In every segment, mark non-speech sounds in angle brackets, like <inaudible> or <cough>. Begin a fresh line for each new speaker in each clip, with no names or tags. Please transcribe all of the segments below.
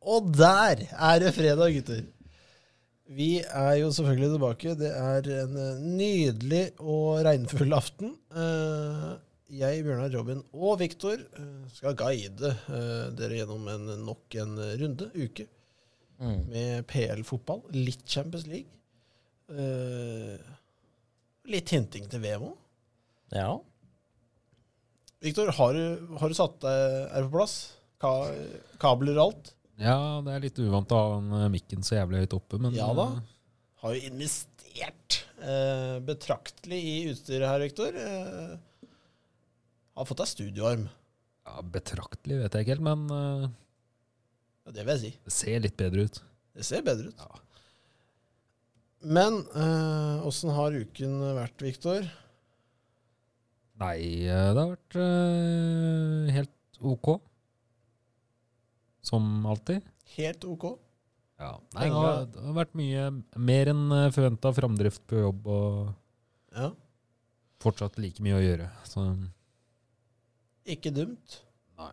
Og der er det fredag, gutter. Vi er jo selvfølgelig tilbake. Det er en eh, nydelig og regnfull aften. Eh, Jeg, Bjørnar, Robin og Viktor eh, skal guide eh, dere gjennom en, nok en runde, uke,
Mm.
med PL-fotball. Litt Champions League. Eh, Litt hinting til VM òg.
Ja.
Viktor, har, du- har du satt deg Er du på plass? Ka kabler og alt?
Ja, det er litt uvant å ha den eh, mikken så jævlig høyt oppe, men
Ja da.
eh,
Har jo investert eh, betraktelig i utstyret her, Viktor. Eh, har fått deg studioarm.
Ja, betraktelig vet jeg ikke helt, men eh,
Ja, det vil jeg si.
det ser litt bedre ut.
Det ser bedre ut.
Ja.
Men eh, åssen har uken vært, Viktor?
Nei, eh, det har vært eh, helt ok. Som alltid.
Helt OK?
Ja. Nei, det,
Engla-
har, det har vært mye mer enn forventa framdrift på jobb, og
Ja.
fortsatt like mye å gjøre. Så
Ikke dumt.
nei.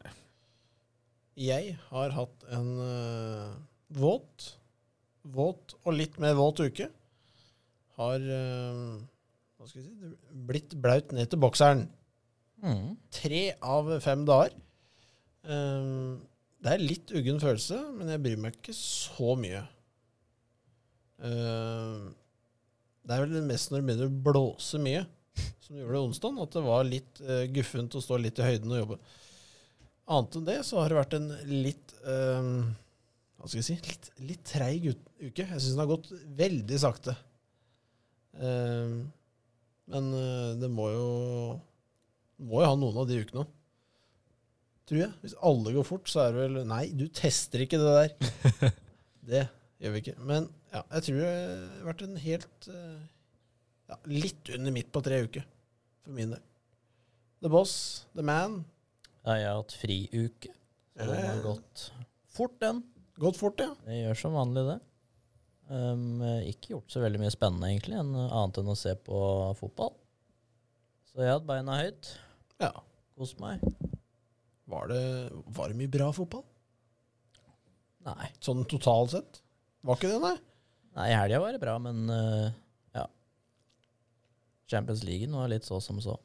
Jeg har hatt en eh, våt, våt og litt mer våt uke. Har eh, hva skal jeg si, blitt blaut ned til bokseren.
Mm.
Tre av fem dager. Ehm, det er litt uggen følelse, men jeg bryr meg ikke så mye. Ehm, det er vel mest når det begynner å blåse mye, som det gjorde onsdag, at det var litt eh, guffent å stå litt i høyden og jobbe. Annet enn det så har det vært en litt ehm, Hva skal jeg si? Litt, litt treig ut- uke. Jeg syns den har gått veldig sakte. Ehm, men eh, det må jo må jo ha noen av de ukene òg. Tror jeg. Hvis alle går fort, så er det vel Nei, du tester ikke det der. det gjør vi ikke. Men ja, jeg tror det har vært en helt eh, ja, Litt under midt på tre uker, for min del. The Boss, The Man.
Ja, jeg har hatt friuke, så den har
Eh.
gått fort, den.
Gått fort, ja.
Det gjør som vanlig, det. Um, ikke gjort så veldig mye spennende, egentlig, enn, annet enn å se på fotball. Så jeg har hatt beina høyt.
ja.
Kost meg.
Var, det, var det mye bra fotball?
Nei,
Sånn totalt sett? Var ikke det, nei?
Nei i helga var det bra, men eh, ja. Champions League var litt så som så.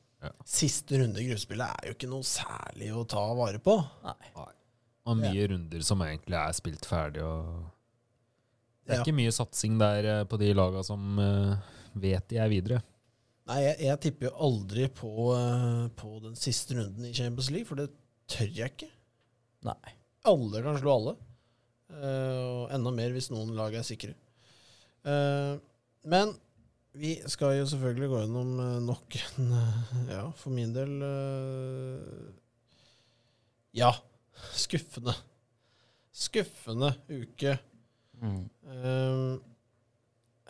Siste runde i gruppespillet er jo ikke noe særlig å ta vare på.
Nei.
Og mye runder som egentlig er spilt ferdig, og det
Ja.
er ikke mye satsing der eh, på de laga som eh, vet de er videre.
Nei, jeg, jeg tipper jo aldri på, eh, på den siste runden i Champions League, for det tør jeg ikke.
Nei.
Alle kan slå alle. Eh, og enda mer hvis noen lag er sikre. Eh, men vi skal jo selvfølgelig gå gjennom eh, nok en eh, Ja, for min del eh, Ja, skuffende. Skuffende uke.
Mm.
Ehm,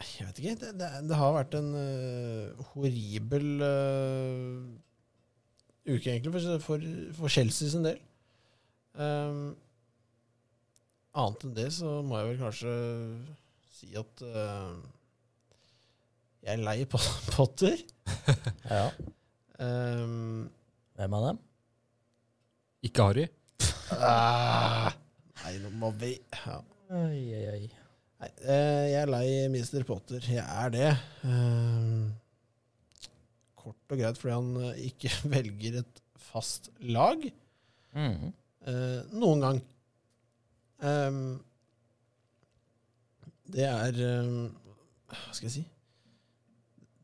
jeg vet ikke. Det, det, det har vært en eh, horribel eh, uke, egentlig, for, for, for Chelsea sin del. Ehm, annet enn det så må jeg vel kanskje si at eh, jeg er lei på Potter.
Ja.
Ehm,
Hvem av dem?
Ikke Harry.
ah, nei, nå må vi ja.
Oi, oi, oi.
Nei, eh, jeg er lei Mr. Potter. Jeg er det. Ehm, Kort og greit fordi han eh, ikke <laughs> velger et fast lag
Mm.
eh, noen gang. Ehm, Det er ehm, Hva skal jeg si?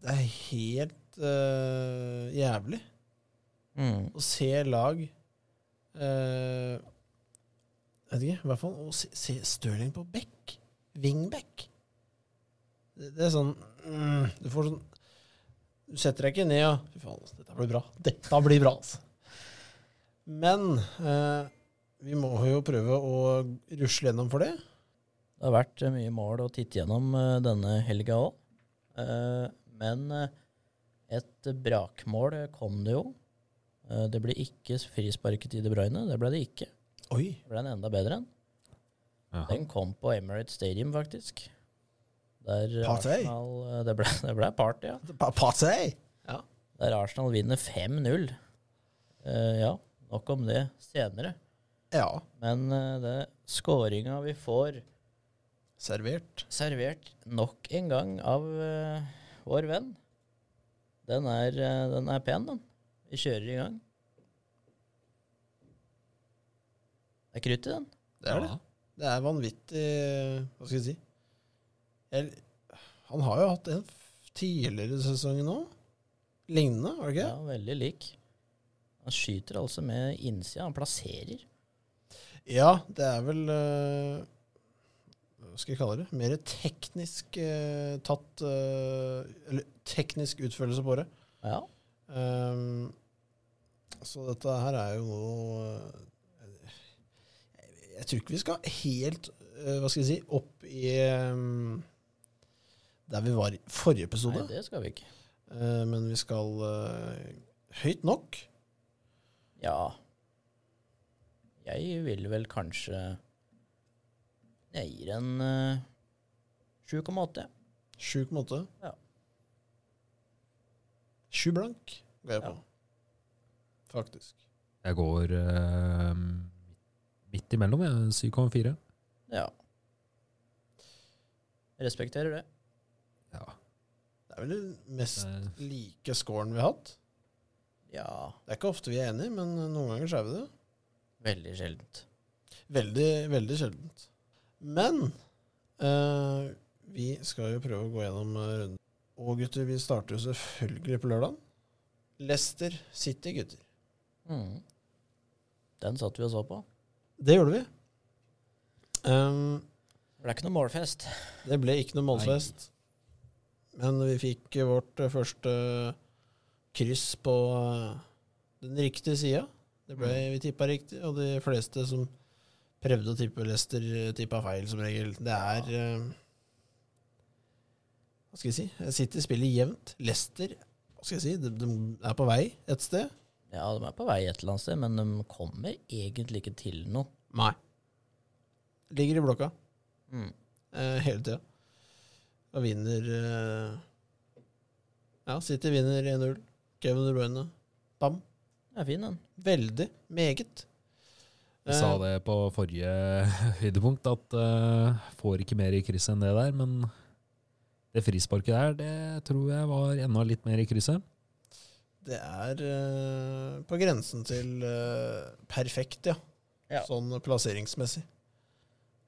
Det er helt eh, jævlig
Mm.
å se lag eh, Vet ikke, i hvert fall å se, se Stirling på back. Wingback. Det, det er sånn mm, Du får sånn Du setter deg ikke ned og Fy faen, altså, dette blir bra. Dette blir bra, altså. Men eh, vi må jo prøve å rusle gjennom for det.
Det har vært eh, mye mål å titte gjennom eh, denne helga òg. men eh, et brakmål eh, kom det jo. Eh, det ble ikke frisparket til De Bruyne. Det ble det ikke.
Oi.
Det ble en enda bedre en. Den kom på Emirates Stadium, faktisk. Der
Partey.
Arsenal eh, Det ble, <laughs> det ble party, ja.
Partey!
Der Arsenal vinner 5-0. Eh, ja, nok om det senere.
Ja.
Men eh, det skåringa vi får
Servert.
servert nok en gang av eh, vår venn. Den er, eh, den er pen, den. Vi kjører i gang. Det er krutt i den.
Det er det.
Ja.
Det er vanvittig Hva skal jeg si? Jeg, han har jo hatt en f- tidligere sesong nå. Lignende, var det ikke?
Ja, veldig lik. Han skyter altså med innsida. Han plasserer.
Ja, det er vel eh, Hva skal jeg kalle det? Mer teknisk eh, tatt eh, Eller teknisk utførelse på det.
Ja.
Ehm, så dette her er jo noe eh, Jeg tror ikke vi skal helt eh, hva skal jeg si, opp i ehm, der vi var i forrige
Nei,
episode,
det skal vi ikke.
Eh, men vi skal eh, høyt nok.
Ja. Jeg vil vel kanskje Jeg gir en eh, 7,8.
7,8.
Ja.
7 blank går jeg
Ja.
på. Faktisk.
Jeg går eh, midt imellom, jeg. 7,4.
Ja. Respekterer det.
Ja.
Det er vel den mest
det-
like scoren vi har hatt.
Ja.
Det er ikke ofte vi er enige, men eh, noen ganger så er vi det.
Veldig sjeldent.
Veldig, veldig sjeldent. Men eh, vi skal jo prøve å gå gjennom eh, runden. Og gutter, vi starter jo selvfølgelig på lørdag. Leicester City, gutter.
Mm. Den satt vi og så på.
Det gjorde vi. Ehm,
Det ble ikke noe målfest.
det ble ikke noe målfest. Men vi fikk eh, vårt eh, første kryss på eh, den riktige sida. Det ble vi tippa riktig, og de fleste som prøvde å tippe Leicester, eh, tippa feil som regel. Det er eh, Hva skal jeg si? City spiller jevnt. Leicester hva skal jeg si? De, de er på vei et sted.
Ja, de er på vei et eller annet sted, men de kommer egentlig ikke til noe.
Nei. Ligger i blokka
Mm.
eh, hele tida. Og vinner eh, Ja, City vinner 1-0. Kevin De Bruyne. Bam.
Det er fin, den.
Veldig. Meget. Eh,
Jeg sa det på forrige <laughs> høydepunkt, at eh, får ikke mer i krysset enn det der, men det frisparket der, det tror jeg var enda litt mer i krysset.
Det er eh, på grensen til eh, perfekt, ja.
Ja.
Sånn plasseringsmessig.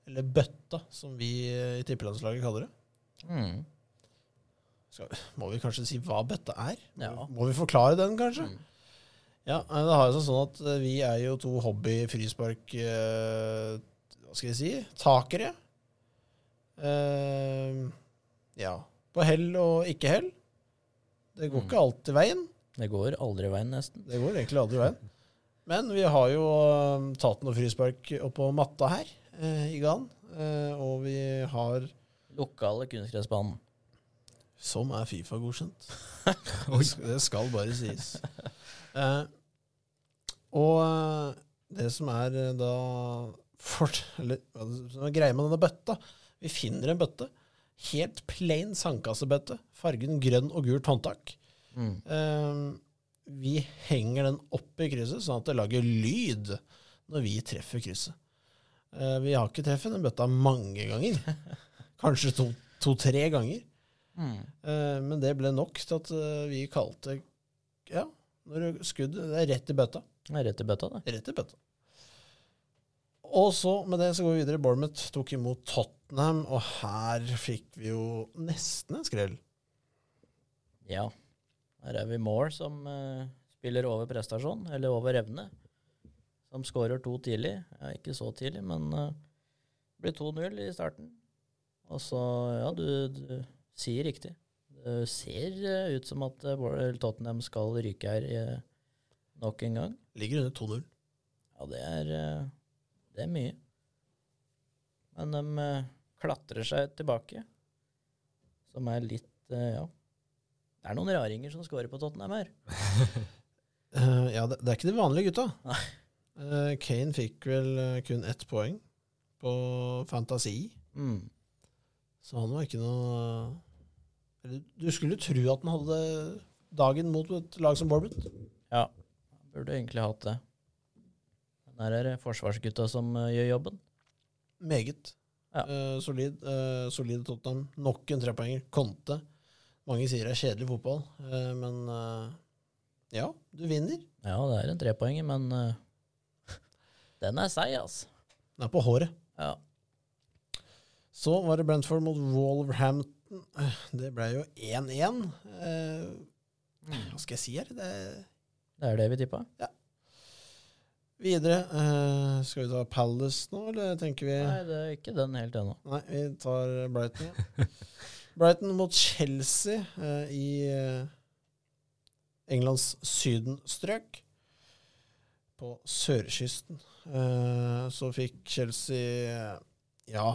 Eller bøtta, som vi eh, i tippelandslaget kaller det.
Mm.
Må vi kanskje si hva bøtta er? Må,
Ja.
må vi forklare den, kanskje?
Mm.
Ja, nei, det har jo seg sånn at eh, vi er jo to hobby-frispark... eh, hva skal jeg si? Takere. Eh, ja. På hell og ikke hell. Det går
Mm.
ikke alltid veien.
Det går aldri veien, nesten.
Det går egentlig aldri veien. Men vi har jo øhm, tatt noen frispark oppå matta her eh, i Gan. eh, og vi har
Lokale kunstgressbanen.
Som er Fifa-godkjent. Det sk- det skal bare sies. Eh, og eh, det som er eh, da fort, eller, hva er det som er greia med denne bøtta Vi finner en bøtte. Helt plain sandkassebøtte. Fargen grønn og gult håndtak.
Mm.
Ehm, vi henger den opp i krysset, sånn at det lager lyd når vi treffer krysset. Eh, vi har ikke treffet den bøtta mange ganger. Kanskje to- to-tre ganger.
Mm.
Eh, men det ble nok til at eh, vi kalte Ja, når du- skuddet Det er rett i bøtta.
Det er rett i bøtta, det.
Rett i bøtta. Og så, med det, så går vi videre. Bournemouth tok imot Tottenham, og her fikk vi jo nesten en skrell.
Ja. Her er vi Moore som eh, spiller over prestasjon, eller over evne. Som skårer to tidlig. Ja, ikke så tidlig, men eh, det blir 2-0 i starten. Og så, ja, du, du sier riktig. Det ser eh, ut som at eh, Bor- Tottenham skal ryke her eh, nok en gang.
Ligger under 2-0.
Ja, det er, eh, det er mye. Men de eh, klatrer seg tilbake, som er litt eh, Ja. Det er noen raringer som scorer på Tottenham her.
Eh, ja, det, det er ikke de vanlige gutta.
Nei.
Eh, Kane fikk vel eh, kun ett poeng på fantasi,
Mm.
så han var ikke noe eh, eller, Du skulle tro at han hadde dagen mot et lag som Bournemouth.
Ja, burde egentlig hatt det. Men Her er det forsvarsgutta som eh, gjør jobben.
Meget.
Ja.
Eh, solid, eh, solid Tottenham. Nok en trepoenger. Conte. Mange sier det er kjedelig fotball, eh, men eh, ja, du vinner.
Ja, det er en trepoenger, men eh, <laughs> den er seig, altså.
Den er på håret.
Ja.
Så var det Brentford mot Wolverhampton. Eh, Det ble jo 1-1. Eh,
Mm.
hva skal jeg si her? Det er
Det er det vi tippa.
videre eh, Skal vi ta Palace nå, eller tenker vi
Nei, det er ikke den helt ennå.
Nei, vi tar Brighton. ja. <laughs> Brighton mot Chelsea eh, i eh, Englands sydenstrøk. På sørkysten. Eh, så fikk Chelsea eh, ja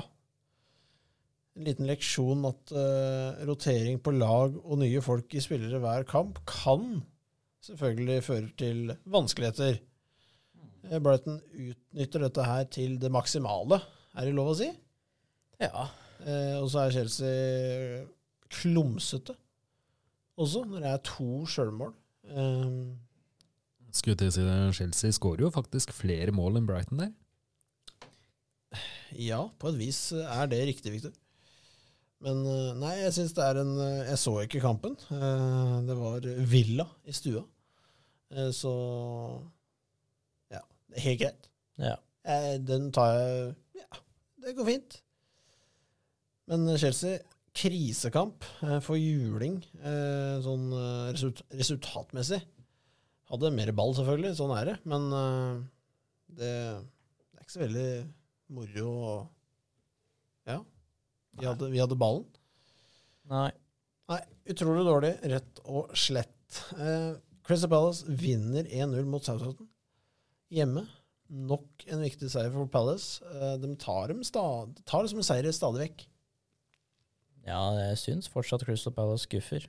en liten leksjon at eh, rotering på lag og nye folk i spillere hver kamp kan selvfølgelig føre til vanskeligheter. Eh, Brighton utnytter dette her til det maksimale, er det lov å si?
Ja.
Eh, og så er Chelsea eh, klumsete også, når det er to sjølmål. Eh,
Skulle til å si det, Chelsea skårer jo faktisk flere mål enn Brighton der.
ja, på et vis er det riktig, Victor. Men eh, nei, jeg syns det er en eh, Jeg så ikke kampen. Eh, det var Villa i stua. Eh, så ja, det er helt greit.
ja.
Eh, den tar jeg Ja, det går fint. Men Chelsea, krisekamp eh, for juling eh, sånn eh, result resultatmessig. Hadde mer ball, selvfølgelig, sånn er det, men eh, det, det er ikke så veldig moro å Ja. Vi hadde, vi hadde ballen.
Nei.
Nei, utrolig dårlig, rett og slett. Eh, Crystal Palace vinner 1-0 mot Southampton hjemme. Nok en viktig seier for Palace. Eh, de tar, dem sta- tar det som en seier stadig vekk.
Ja, jeg syns fortsatt Crystal Palace skuffer.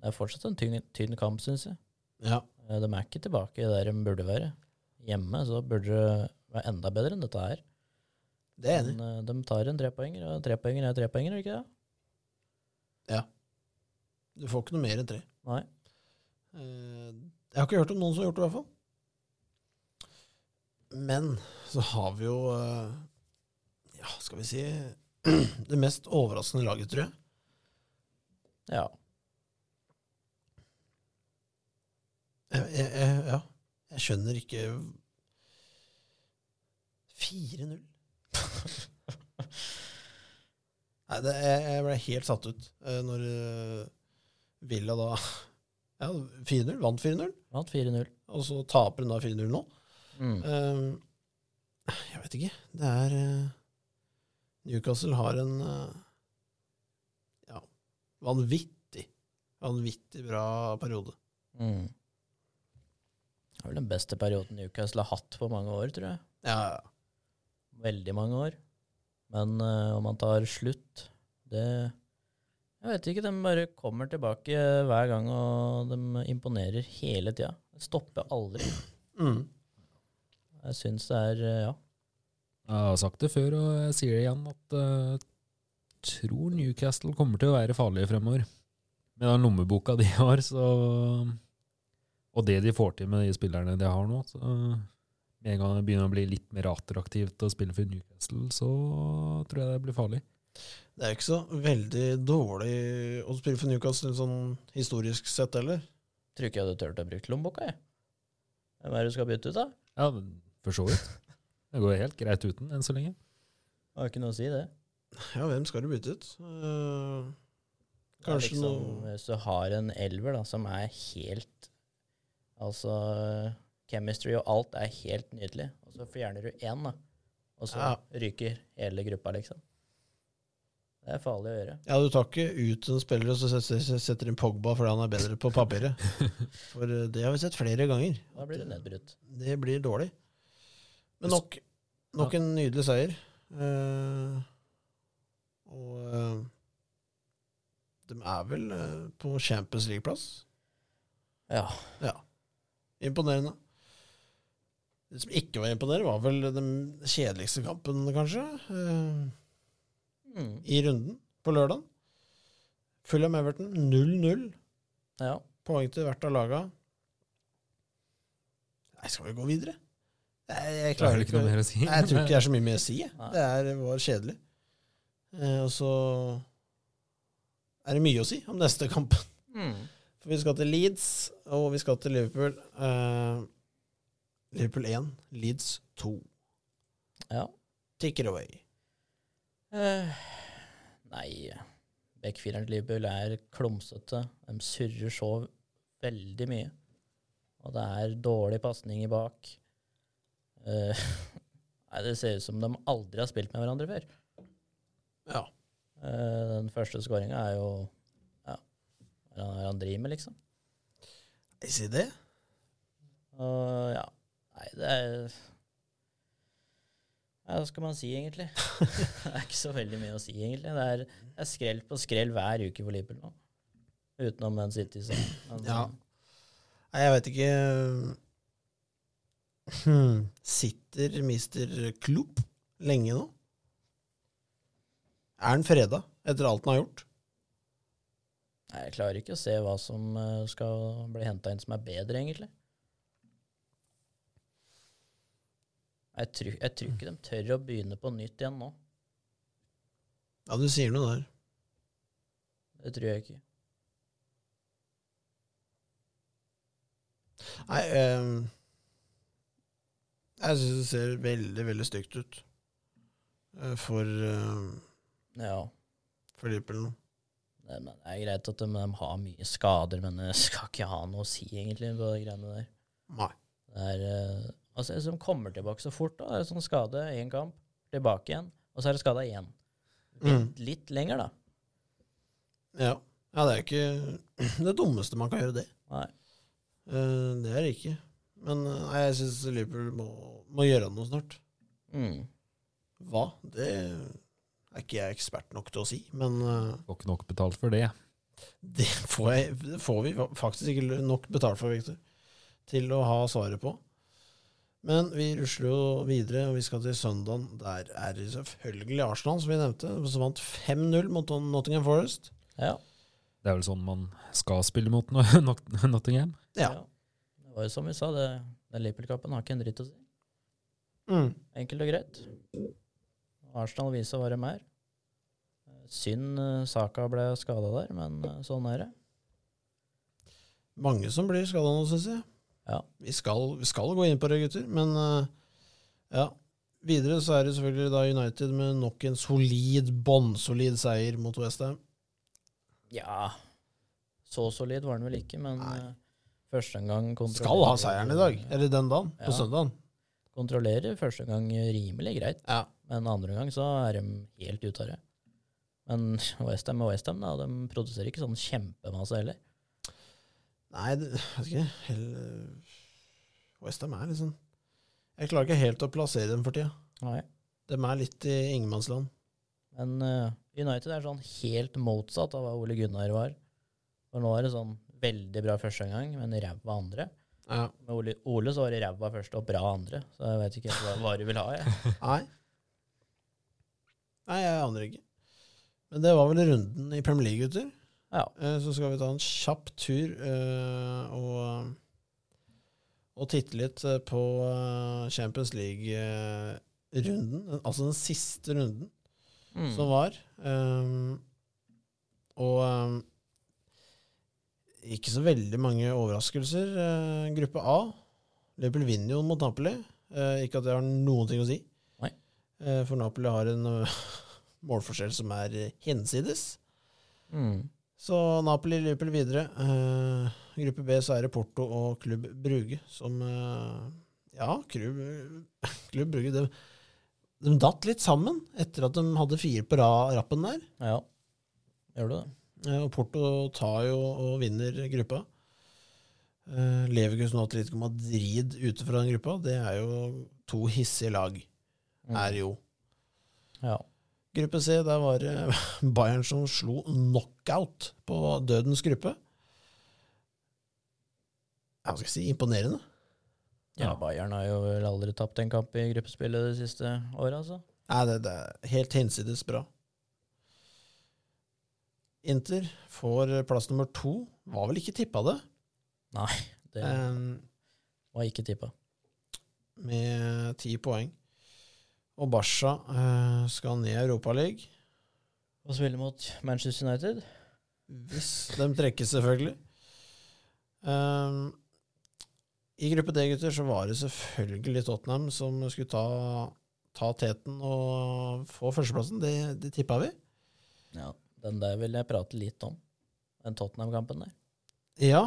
Det er fortsatt en tynn, tynn kamp, syns jeg.
Ja.
Eh, De er ikke tilbake der de burde være. Hjemme så burde det være enda bedre enn dette her.
Det er jeg enig. i.
Men eh, de tar en trepoenger, og trepoenger er trepoenger, er det ikke det?
Du får ikke noe mer enn tre.
Nei.
Eh, jeg har ikke hørt om noen som har gjort det, i hvert fall. Men så har vi jo eh, Ja, skal vi si <clears throat> Det mest overraskende laget, tror jeg.
Ja.
Jeg, jeg, jeg, ja. jeg skjønner ikke 4-0. Nei, det, jeg, jeg ble helt satt ut eh, når eh, Villa da ja, 4-0, vant 4-0,
Vant 4-0.
og så taper hun da 4-0 nå.
Mm.
Eh, jeg vet ikke. Det er eh, Newcastle har en eh, ja, vanvittig, vanvittig bra periode.
Mm. Det er vel den beste perioden Newcastle har hatt på mange år, tror jeg.
Ja, ja.
Veldig mange år. Men eh, om man tar slutt, det Jeg vet ikke. De bare kommer tilbake eh, hver gang, og de imponerer hele tida. Stopper aldri.
Mm.
Jeg syns det er eh, Ja.
Jeg har sagt det før, og jeg sier det igjen, at jeg tror Newcastle kommer til å være farlige fremover. Med den lommeboka de har, så Og det de får til med de spillerne de har nå, så med en gang det begynner å bli litt mer attraktivt å spille for Newcastle, så tror jeg det blir farlig.
Det er ikke så veldig dårlig å spille for Newcastle sånn historisk sett heller.
Tror ikke jeg hadde turt å bruke lommeboka, jeg. Hvem er det du skal bytte ut, da?
Ja, men for så vidt. Det går helt greit uten enn så lenge.
Har ikke noe å si, det.
Ja, hvem skal du bytte ut? Eh,
Det er
Kanskje
liksom,
noe-
Hvis du har en elver da, som er helt Altså, chemistry og alt er helt nydelig, og så fjerner du én, da, og så
Ja.
ryker hele gruppa, liksom. Det er farlig å gjøre.
ja, du tar ikke ut en spiller og så setter, setter inn Pogba fordi han er bedre på <laughs> papiret. For eh, det har vi sett flere ganger.
Da blir det nedbrutt.
Det blir dårlig. Men nok, nok en nydelig seier. Eh, og eh, de er vel eh, på Champions League-plass?
Ja.
Imponerende. Det som ikke var imponerende, var vel den kjedeligste kampen, kanskje, eh,
Mm.
i runden på lørdag. Fulham Everton 0-0.
ja.
Poeng til hvert av laga. Nei, skal vi gå videre? Nei, jeg
Det er
klarer
vel
ikke
ikke noe
mer.
mer å si.
Nei, jeg tror ikke det er så mye mer å si. jeg.
Nei.
Det er, var kjedelig. Eh, og så er det mye å si om neste kamp.
Hmm.
For vi skal til Leeds, og vi skal til Liverpool. Eh, Liverpool 1, Leeds 2.
Ja.
Ticker away.
Eh, nei, backfireren til Liverpool er klumsete. De surrer så veldig mye. Og det er dårlig pasning i bak. Eh, <laughs> nei, det ser ut som de aldri har spilt med hverandre før.
Ja.
Eh, den første skåringa er jo ja, hva er det han driver med, liksom.
Jeg sier det.
Og ja, nei, det er ja, Hva skal man si, egentlig? det er ikke så veldig mye å si, egentlig. Det er, det er skrell på skrell hver uke for Liverpool nå. Utenom Man City. Så. Men,
Ja. Nei, jeg veit ikke hmm. Sitter Mr. Klopp lenge nå? Er han freda etter alt han har gjort?
Nei, jeg klarer ikke å se hva som eh, skal bli henta inn som er bedre, egentlig. Jeg tror, jeg tror ikke de tør å begynne på nytt igjen nå.
Ja, du sier noe der.
Det tror jeg ikke.
Nei, ehm, jeg syns det ser veldig, veldig stygt ut eh, for, ehm,
Ja.
for Liverpool nå.
Nei, men Det er greit at de, de har mye skader, men det skal ikke ha noe å si egentlig på de greiene der.
Nei.
Det er, eh, altså, Som kommer tilbake så fort. da, det er sånn Skade én kamp, tilbake igjen, og så er det skada igjen. Litt,
Mm.
litt lenger, da.
Ja. ja, det er ikke <clears throat> det dummeste man kan gjøre, det.
Nei.
Eh, det er det ikke. Men eh, nei, jeg syns Liverpool må, må gjøre noe snart.
Mm.
Hva? Det er ikke jeg ekspert nok til å si, men eh,
<laughs> Får ikke nok betalt for det.
det <laughs> får, jeg, det får vi faktisk ikke nok betalt for, Victor, til å ha svaret på. Men vi rusler jo videre, og vi skal til søndagen. Der er det selvfølgelig Arsenal, som vi nevnte, som vant 5-0 mot Nottingham Forest.
Ja.
Det er vel sånn man skal spille mot Not- <laughs> Nottingham.
Ja.
Det var jo som vi sa, det, den Liverpool-kampen har ikke en dritt å si.
Mm.
Enkelt og greit. Arsenal viser hva de er. Synd eh, Saka ble skada der, men eh, sånn er det.
Mange som blir skada nå, syns jeg.
Ja.
Vi, skal, vi skal gå inn på det, gutter. Men eh, ja. Videre så er det selvfølgelig da United med nok en solid, bånnsolid seier mot Westham.
Ja Så solid var den vel ikke, men
Nei.
eh, første gang kontrollerer
Skal ha seieren i dag. Eller den dagen.
Ja.
På søndagen.
Kontrollerer første gang rimelig greit,
Ja.
men andre gang så er de helt ute av det. Men <laughs> Westham er Westham, da. De produserer ikke sånn kjempemasse heller.
Nei, det, jeg vet ikke. Hell- Westham er liksom Jeg klarer ikke helt å plassere dem for tida.
Nei.
De er litt i ingenmannsland.
Men eh, United er sånn helt motsatt av hva Ole Gunnar var. For nå er det sånn veldig bra første gang, men ræva andre.
Ja.
Med Ole, Ole så var det ræva første og bra andre, så jeg veit ikke helt hva, hva du vil ha. Jeg.
Nei. Nei, jeg aner ikke. Men det var vel runden i Premier League, gutter.
Ja.
Eh, Så skal vi ta en kjapp tur eh, og, og titte litt eh, på eh, Champions League-runden. Altså den siste runden
<laughs> Mm.
som var. Ehm, og ehm, ikke så veldig mange overraskelser. Eh, gruppe A. Liverpool vinner jo mot Napoli. Eh, ikke at det har noen ting å si.
Nei.
Eh, for Napoli har en eh, <laughs> målforskjell som er eh, hinsides.
Mm.
Så Napoli-Liverpool videre. Eh, gruppe B så er det Porto og Klubb Bruge som eh, Ja, Klubb, <laughs> Klubb Bruge de, de datt litt sammen etter at de hadde fire på ra rappen der.
Ja. Gjør du det?
Eh, og Porto tar jo og vinner gruppa. Eh, Leverkusen og Atletico Madrid ute fra den gruppa, det er jo to hissige lag.
Mm.
er jo.
Ja.
Gruppe C, der var det <laughs> Bayern som slo knockout på dødens gruppe. Ja, Hva skal jeg si? Imponerende.
ja.
Ja.
Bayern har jo vel aldri tapt en kamp i gruppespillet de siste åra, altså.
Nei, det, det er helt hinsides bra. Inter får plass nummer to. Var vel ikke tippa det.
Det
Ehm,
var ikke tippa.
med ti poeng. Og Barca eh, skal ned i Europaligaen.
Og spille mot Manchester United.
Hvis de trekkes, selvfølgelig. Ehm, I gruppe D, gutter, så var det selvfølgelig Tottenham som skulle ta, ta teten og få førsteplassen. Det, det tippa vi.
Ja, Den der vil jeg prate litt om. Den Tottenham-kampen der.
Ja.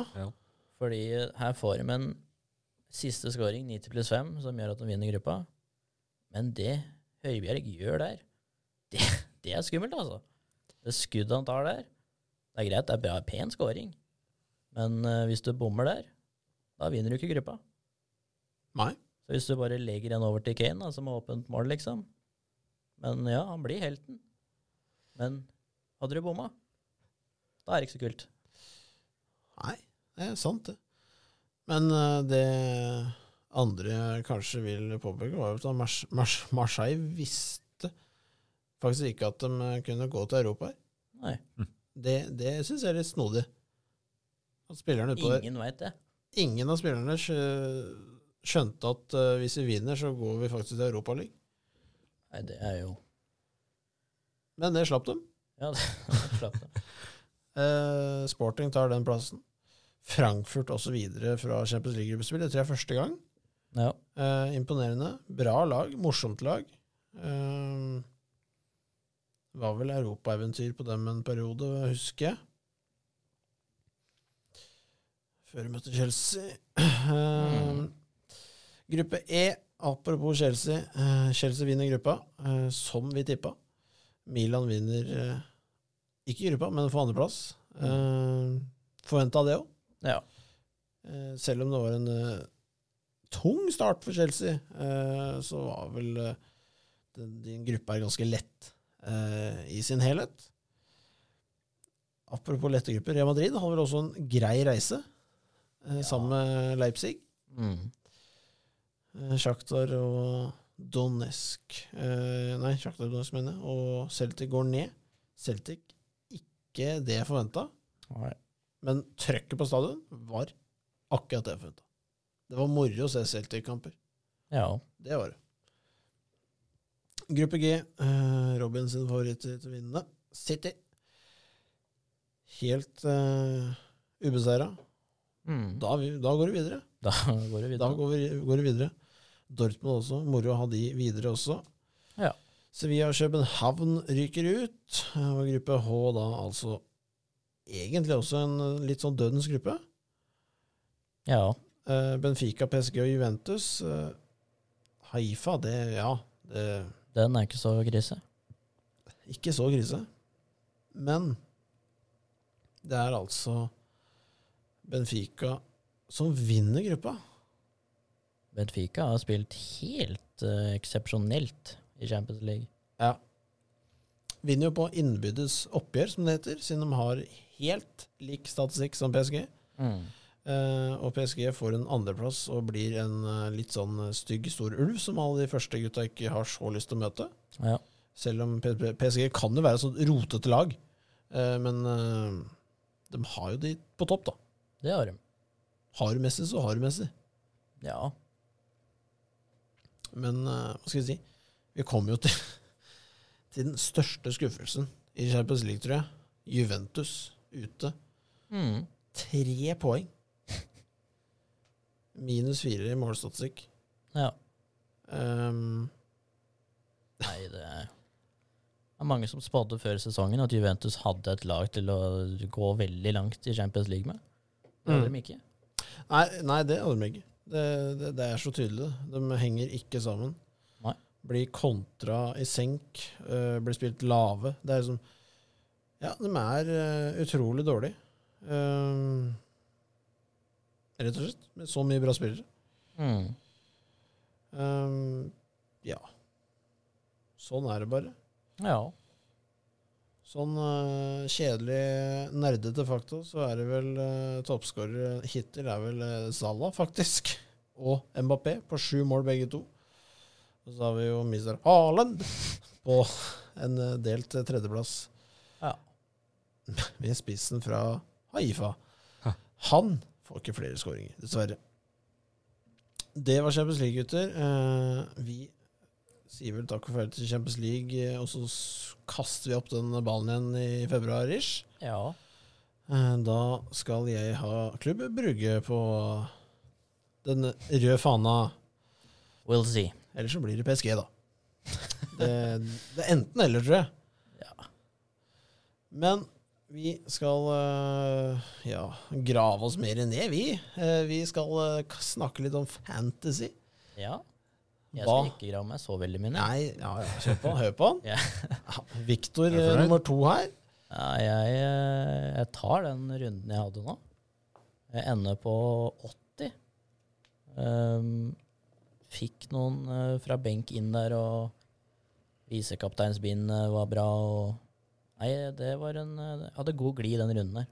Fordi her får de en siste scoring, 90 pluss 5, som gjør at de vinner gruppa. Men det Høibjerg gjør der, det, det er skummelt, altså. Det skuddet han tar der, det er greit, det er bra, pen scoring. Men eh, hvis du bommer der, da vinner du ikke gruppa.
Nei.
Så hvis du bare legger en over til Kane, da, som har åpent mål, liksom Men ja, han blir helten. Men hadde du bomma, da er det ikke så kult.
Nei, det er sant, det. Men eh, det andre jeg kanskje vil påpeke, var jo at Mars Mars Marseille visste faktisk ikke at de kunne gå til Europa her.
Nei,
Det, det syns jeg er litt snodig. At spillerne utpå der
ingen veit det.
Ingen av spillerne skjø- skjønte at eh, hvis vi vinner, så går vi faktisk til Europaligaen.
Nei, det er jo <laughs>
Men det slapp dem.
Ja, det slapp det.
Eh, Sporting tar den plassen. Frankfurt også videre fra Champions League-gruppespill. Det tror jeg er første gang.
Ja.
Eh, imponerende. Bra lag. Morsomt lag. Eh, var vel europaeventyr på dem en periode, husker jeg. Før vi møtte Chelsea. Eh,
Mm.
Gruppe E, apropos Chelsea. Eh, Chelsea vinner gruppa, eh, som vi tippa. Milan vinner eh, ikke gruppa, men får andreplass. Eh, Forventa det òg.
ja.
Eh, selv om det var en eh, tung start for Chelsea, eh, så var vel eh, den, din gruppe her ganske lett eh, i sin helhet. Apropos lette grupper, Real Madrid hadde vel også en grei reise eh,
Ja.
sammen med Leipzig.
Mm.
Eh, Shakhtar og Donetsk eh, Nei, Shakhtar og Donetsk, mener jeg. Og Celtic går ned. Celtic ikke det jeg forventa.
Nei.
Men trøkket på stadion var akkurat det jeg forventa. Det var moro å se Celtic-kamper.
Ja.
Det var det. Gruppe G. Eh, Robin sin favoritt til å vinne. City. Helt eh, ubeseira.
Mm. Da,
Da, er vi- da går vi videre.
går det
Da
videre.
går vi, går vi videre. Dortmund også. Moro å ha de videre også.
Ja.
Sevilla og København ryker ut. Eh, Og gruppe H da altså egentlig også en eh, litt sånn dødens gruppe.
Ja.
Eh, Benfica, PSG og Juventus. Eh, Haifa, det ja, det
Den er ikke så krise.
ikke så krise. Men det er altså Benfica som vinner gruppa.
Benfica har spilt helt eh, eksepsjonelt i Champions League.
Ja. Vinner jo på innbyrdes oppgjør, som det heter, siden de har helt lik statistikk som PSG.
Mm.
Eh, og PSG får en andreplass og blir en eh, litt sånn eh, stygg, stor ulv som alle de første gutta ikke har så lyst til å møte.
Ja.
Selv om P- P- PSG kan jo være et sånt rotete lag, eh, men eh, de har jo de på topp, da.
Det har de.
Har du Messi, så har du Messi.
Ja.
Men eh, hva skal vi si? Vi kommer jo til, <laughs> til den største skuffelsen i Champions League, tror jeg. Juventus ute.
Mm.
Tre poeng. Minus fire i målstatistikk.
Ja.
Ehm,
Nei, det er det er mange som spådde før sesongen at Juventus hadde et lag til å gå veldig langt i Champions League med. Det hadde
Mm.
de ikke.
nei, nei, det hadde de ikke. Det, det, det er så tydelig. det. De henger ikke sammen.
Nei.
Blir kontra i senk. eh, blir spilt lave. Det er liksom Ja, de er eh, utrolig dårlige. Ehm, rett og slett. Med så mye bra spillere.
Mm.
Ehm, ja. Sånn er det bare.
Ja.
Sånn eh, kjedelig nerdete fakta, så er det vel uh, toppskårere hittil er vel uh, Salah, faktisk. Og Mbappé, på sju mål begge to. Og så har vi jo Mr. Haaland på en eh, delt eh, tredjeplass. <laughs>
Ja.
Med spissen fra Haifa.
Ha.
Han får ikke flere skåringer, dessverre. Det var Champions League, gutter. Eh, vi sier vel takk og farvel til Champions League, eh, og så s- kaster vi opp den ballen igjen i februar-ish.
Ja.
Eh, Da skal jeg ha Klubb Brugge på den røde fana.
We'll see.
Eller så blir det PSG, da. Det, det er enten eller, tror jeg.
Ja.
Men vi skal eh, ja, grave oss mer ned, vi. Eh, Vi skal eh, k- snakke litt om fantasy.
ja. Jeg
Hva?
skal ikke grave meg så veldig mine.
Nei, ja, ja, kjør på. Hør på han.
Ja.
Ja, Victor
Er du
eh,
fornøyd?
nummer to her.
Ja, jeg, eh, jeg tar den runden jeg hadde nå. Jeg ender på 80. Ehm, fikk noen eh, fra benk inn der, og visekapteinsbind eh, var bra. Og Nei, det var en eh, Jeg hadde god glid i den runden der.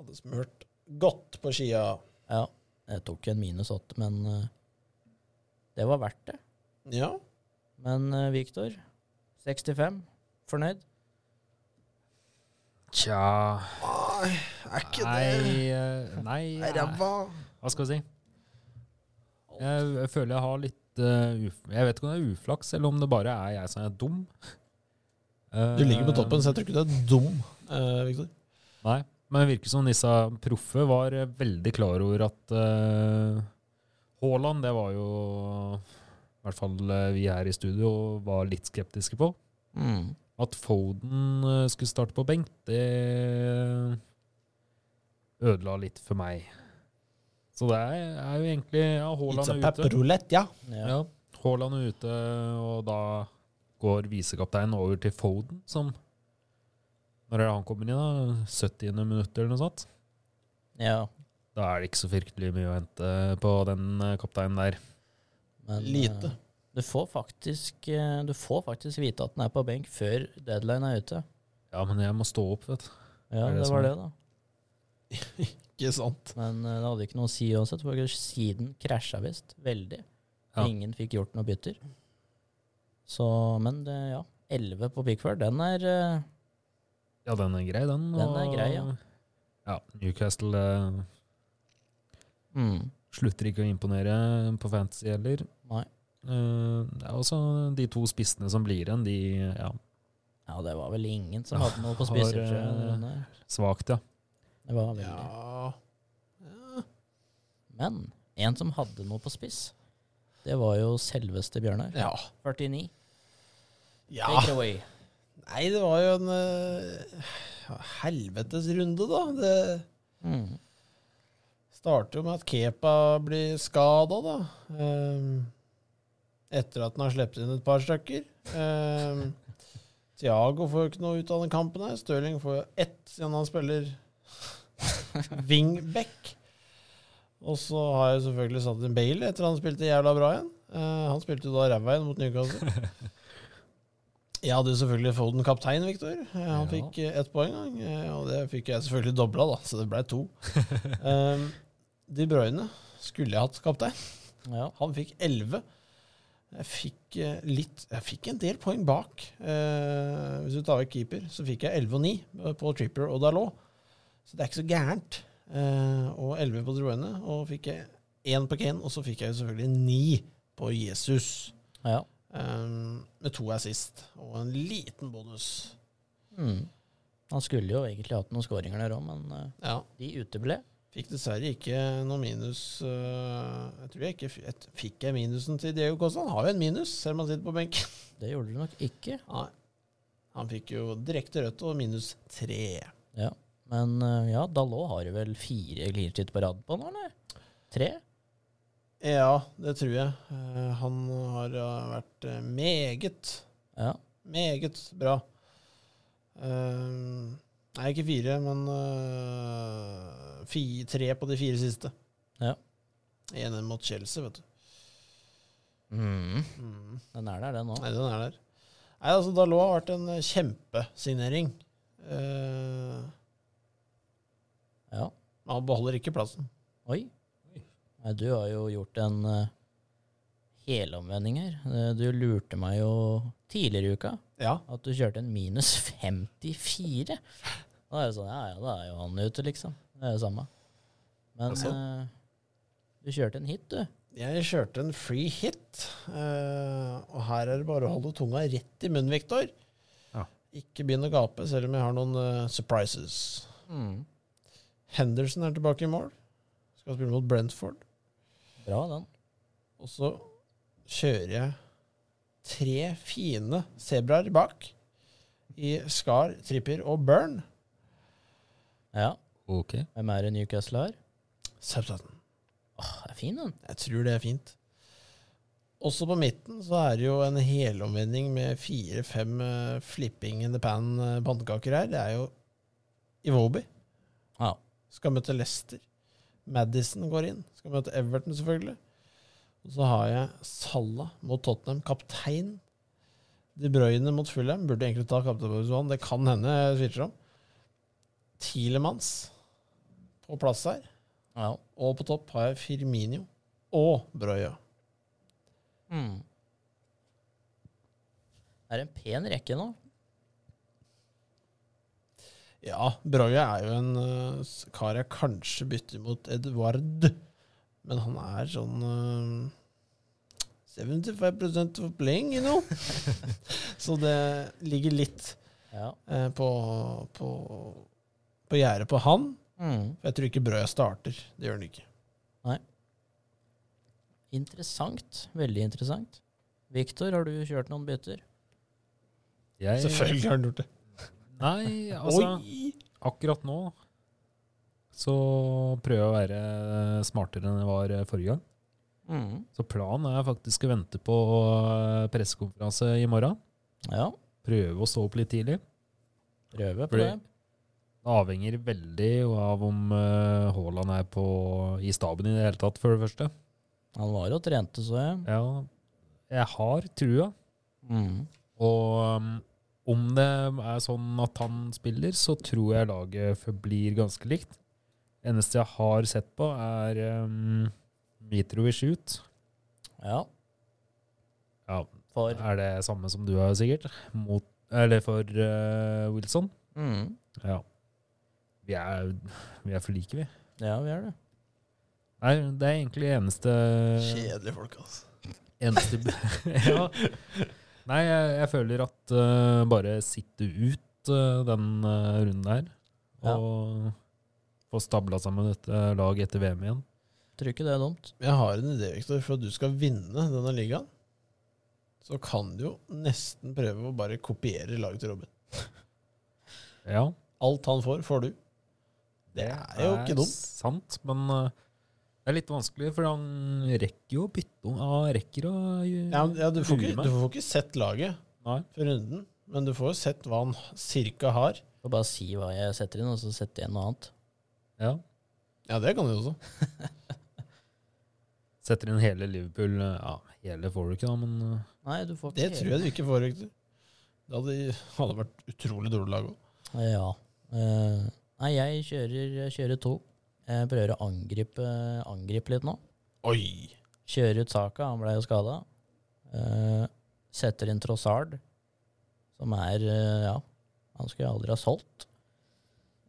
Hadde smurt godt på skia.
Ja, jeg tok en minus 8, men eh, det var verdt det.
Ja.
Men eh, Viktor, 65. Fornøyd?
Tja
Nei, er ikke det
Nei, eh, nei
Nei, ræva.
Hva skal jeg si? Jeg, jeg føler jeg har litt eh, uf Jeg vet ikke om det er uflaks, eller om det bare er jeg som er dum.
Du ligger på
Eh,
toppen, så jeg tror ikke du er dum, eh, Victor.
Nei, men det virker som disse proffe var eh, veldig klar over at eh, Haaland, det var jo i hvert fall eh, vi her i studio var litt skeptiske på.
Mm.
At Foden eh, skulle starte på benk, det ødela litt for meg. Så det er, er jo egentlig
It's
ja,
a
Haaland er ute.
pepperulett, ja.
Ja.
Ja, Haaland er ute, og da går visekapteinen over til Foden, som Når er det han kommer inn, da? 70. minutt, eller noe sånt?
ja.
Da er det ikke så fryktelig mye å hente på den eh, kapteinen der.
Men, eh,
Lite.
Du får, faktisk, eh, du får faktisk vite at den er på benk før deadline er ute.
Ja, men jeg må stå opp, vet du.
Ja,
Er det
det,
sånn?
var det, da.
Ikke sant.
Men eh, det hadde ikke noe å si uansett, for siden krasja visst veldig.
Ja.
Ingen fikk gjort noe bytter. Så, men det, ja. 11 på Pickford, den er eh,
Ja, den er grei, den.
Den er grei, ja.
Ja, Newcastle eh,
mm,
slutter ikke å imponere på fantasy heller.
Nei.
Eh, det er også de to spissene som blir igjen, de ja,
Ja, det var vel ingen som
Ja,
hadde noe på
har,
spisser.
eh,
tror jeg, den der.
svakt, ja.
Det var veldig.
Ja. ja.
Men en som hadde noe på spiss, det var jo selveste Bjørnar.
Ja.
49.
ja.
Take it away.
Nei, det var jo en eh, helvetes runde, da. Det
Mm.
starter jo med at Kepa blir skada, da. Ehm, etter at han har sluppet inn et par stykker. Ehm, <laughs> Thiago får jo ikke noe ut av den kampen her. Stirling får jo ett siden han spiller wingback. Og så har jeg selvfølgelig satt inn Bale etter han spilte jævla bra igjen. Eh, han spilte jo da ræva igjen mot Newcastle. Jeg hadde jo selvfølgelig Foden kaptein, Victor. Eh, han
Ja.
fikk eh, ett poeng, han. Eh, og det fikk jeg selvfølgelig dobla, da, så det ble to. Um, De Bruyne skulle jeg hatt kaptein.
Ja.
Han fikk 11. Jeg fikk eh, litt Jeg fikk en del poeng bak. Eh, hvis du tar vekk keeper, så fikk jeg 11 og 9 på Tripper og Dalot. Så det er ikke så gærent. Eh, og 11 på De Bruyne, og fikk jeg 1 på Kane, og så fikk jeg jo selvfølgelig 9 på Jesus.
ja.
Um, med to assist og en liten bonus.
Mm. Han skulle jo egentlig hatt noen skåringer der òg, men eh,
Ja.
de uteble.
Fikk dessverre ikke noe minus øh, Jeg tror jeg ikke f- jeg, Fikk jeg minusen til Diego Costa? Han har jo en minus, selv om han sitter på benken.
Det gjorde de nok ikke.
Nei. Han fikk jo direkte rødt og minus tre.
Ja. Men eh, ja, Dalot har jo vel fire clean sheet på rad på nå, eller? Tre?
Ja, det tror jeg. Eh, han har eh, vært eh, meget,
Ja.
meget bra. Eh, nei, ikke fire, men eh, fi, tre på de fire siste.
Ja.
En mot Chelsea, vet du.
Mm.
Mm.
Den er der, den nå.
Nei, den er der. Nei, altså, Dalot har vært en eh, kjempesignering. Eh,
Ja.
men han beholder ikke plassen.
Oi. Nei, du har jo gjort en eh, helomvending her. Eh, Du lurte meg jo tidligere i uka
Ja.
at du kjørte en minus 54. Da er det sånn, ja ja, da er jo han ute, liksom. Det er det samme. Men
Altså?
eh, du kjørte en hit, du.
Jeg kjørte en free hit, eh, og her er det bare å holde tunga rett i munnen, Viktor.
Ja.
Ikke begynn å gape, selv om jeg har noen eh, surprises. Henderson er tilbake i mål. Skal spille mot Brentford.
Bra, den.
Og så kjører jeg tre fine sebraer bak i Skar, Tripper og Burn.
Ja.
Ok.
Hvem er det Newcastle har?
Southampton.
Åh, det er fin, den.
Jeg tror det er fint. Også på midten så er det jo en helomvending med fire-fem eh, flipping in the pan eh, pannekaker her. Det er jo Iwobi.
Ja.
Skal møte Leicester. Madison går inn. Skal møte Everton, selvfølgelig. Og så har jeg Salah mot Tottenham, kaptein. De Bruyne mot Fulham. Burde egentlig ta kapteinposisjonen. Det kan hende jeg switcher om. Tielemanns på plass her.
ja.
Og på topp har jeg Firminio og Brøya.
Det Mm. er en pen rekke nå.
Ja, Brøya er jo en eh, s- kar jeg kanskje bytter mot Edvard. Men han er sånn eh, 75 for playing, you know. <laughs> Så det ligger litt
Ja.
eh, på, på, på gjerdet på han. For jeg tror ikke Brøya starter. Det gjør han ikke.
Interessant. Veldig interessant. Viktor, har du kjørt noen bytter?
Jeg,
Selvfølgelig har han gjort det.
Nei, altså
Oi!
akkurat nå så prøver jeg å være smartere enn jeg var eh, forrige gang. Så planen er faktisk å vente på eh, pressekonferanse i morgen.
Ja.
Prøve å stå opp litt tidlig.
Prøve på
Fordi-
det.
Det avhenger veldig av om eh, Haaland er på, i staben i det hele tatt, for det første.
Han var og trente, så jeg.
Ja, jeg har trua. Og um, om det er sånn at han spiller, så tror jeg laget forblir ganske likt. Eneste jeg har sett på, er um, Mitrovic ut.
Ja.
Ja,
For
er det samme som du har, sikkert? Mot, eller for eh, Wilson?
mm.
Ja. Vi er, vi er for like, vi.
Ja, vi er det.
Nei, det er egentlig eneste
Kjedelige folk, altså.
Eneste <laughs> ja. Nei, jeg, jeg føler at eh, bare sitte ut eh, den eh, runden her,
Ja.
og få stabla sammen et eh, lag etter VM igjen.
Tror ikke det er dumt.
Jeg har en idé, Victor, for at du skal vinne denne ligaen. Så kan du jo nesten prøve å bare kopiere laget til Robin.
Ja,
Alt han får, får du. Det er jo ikke dumt.
Sant, men eh, det er litt vanskelig, for han rekker jo å bytte om. Han rekker å
Ja, men- ja, du, får
Lurer
ikke,
meg.
du får ikke sett laget
Nei.
for runden, men du får jo sett hva han cirka har.
Får bare si hva jeg setter inn, og så setter jeg noe annet.
Ja.
Ja, det kan du også.
Setter inn hele Liverpool. eh, Ja, hele får du ikke, da, men eh,
Nei, du får
Det tror jeg du ikke får, Victor. Det hadde, hadde vært utrolig dårlig lag òg.
Ja. Eh, nei, jeg kjører, jeg kjører to. Jeg prøver å angripe, angripe litt nå.
Oi!
Kjører ut Saka, han ble jo skada. setter inn Trossard, som er eh, Ja, han skulle jeg aldri ha solgt.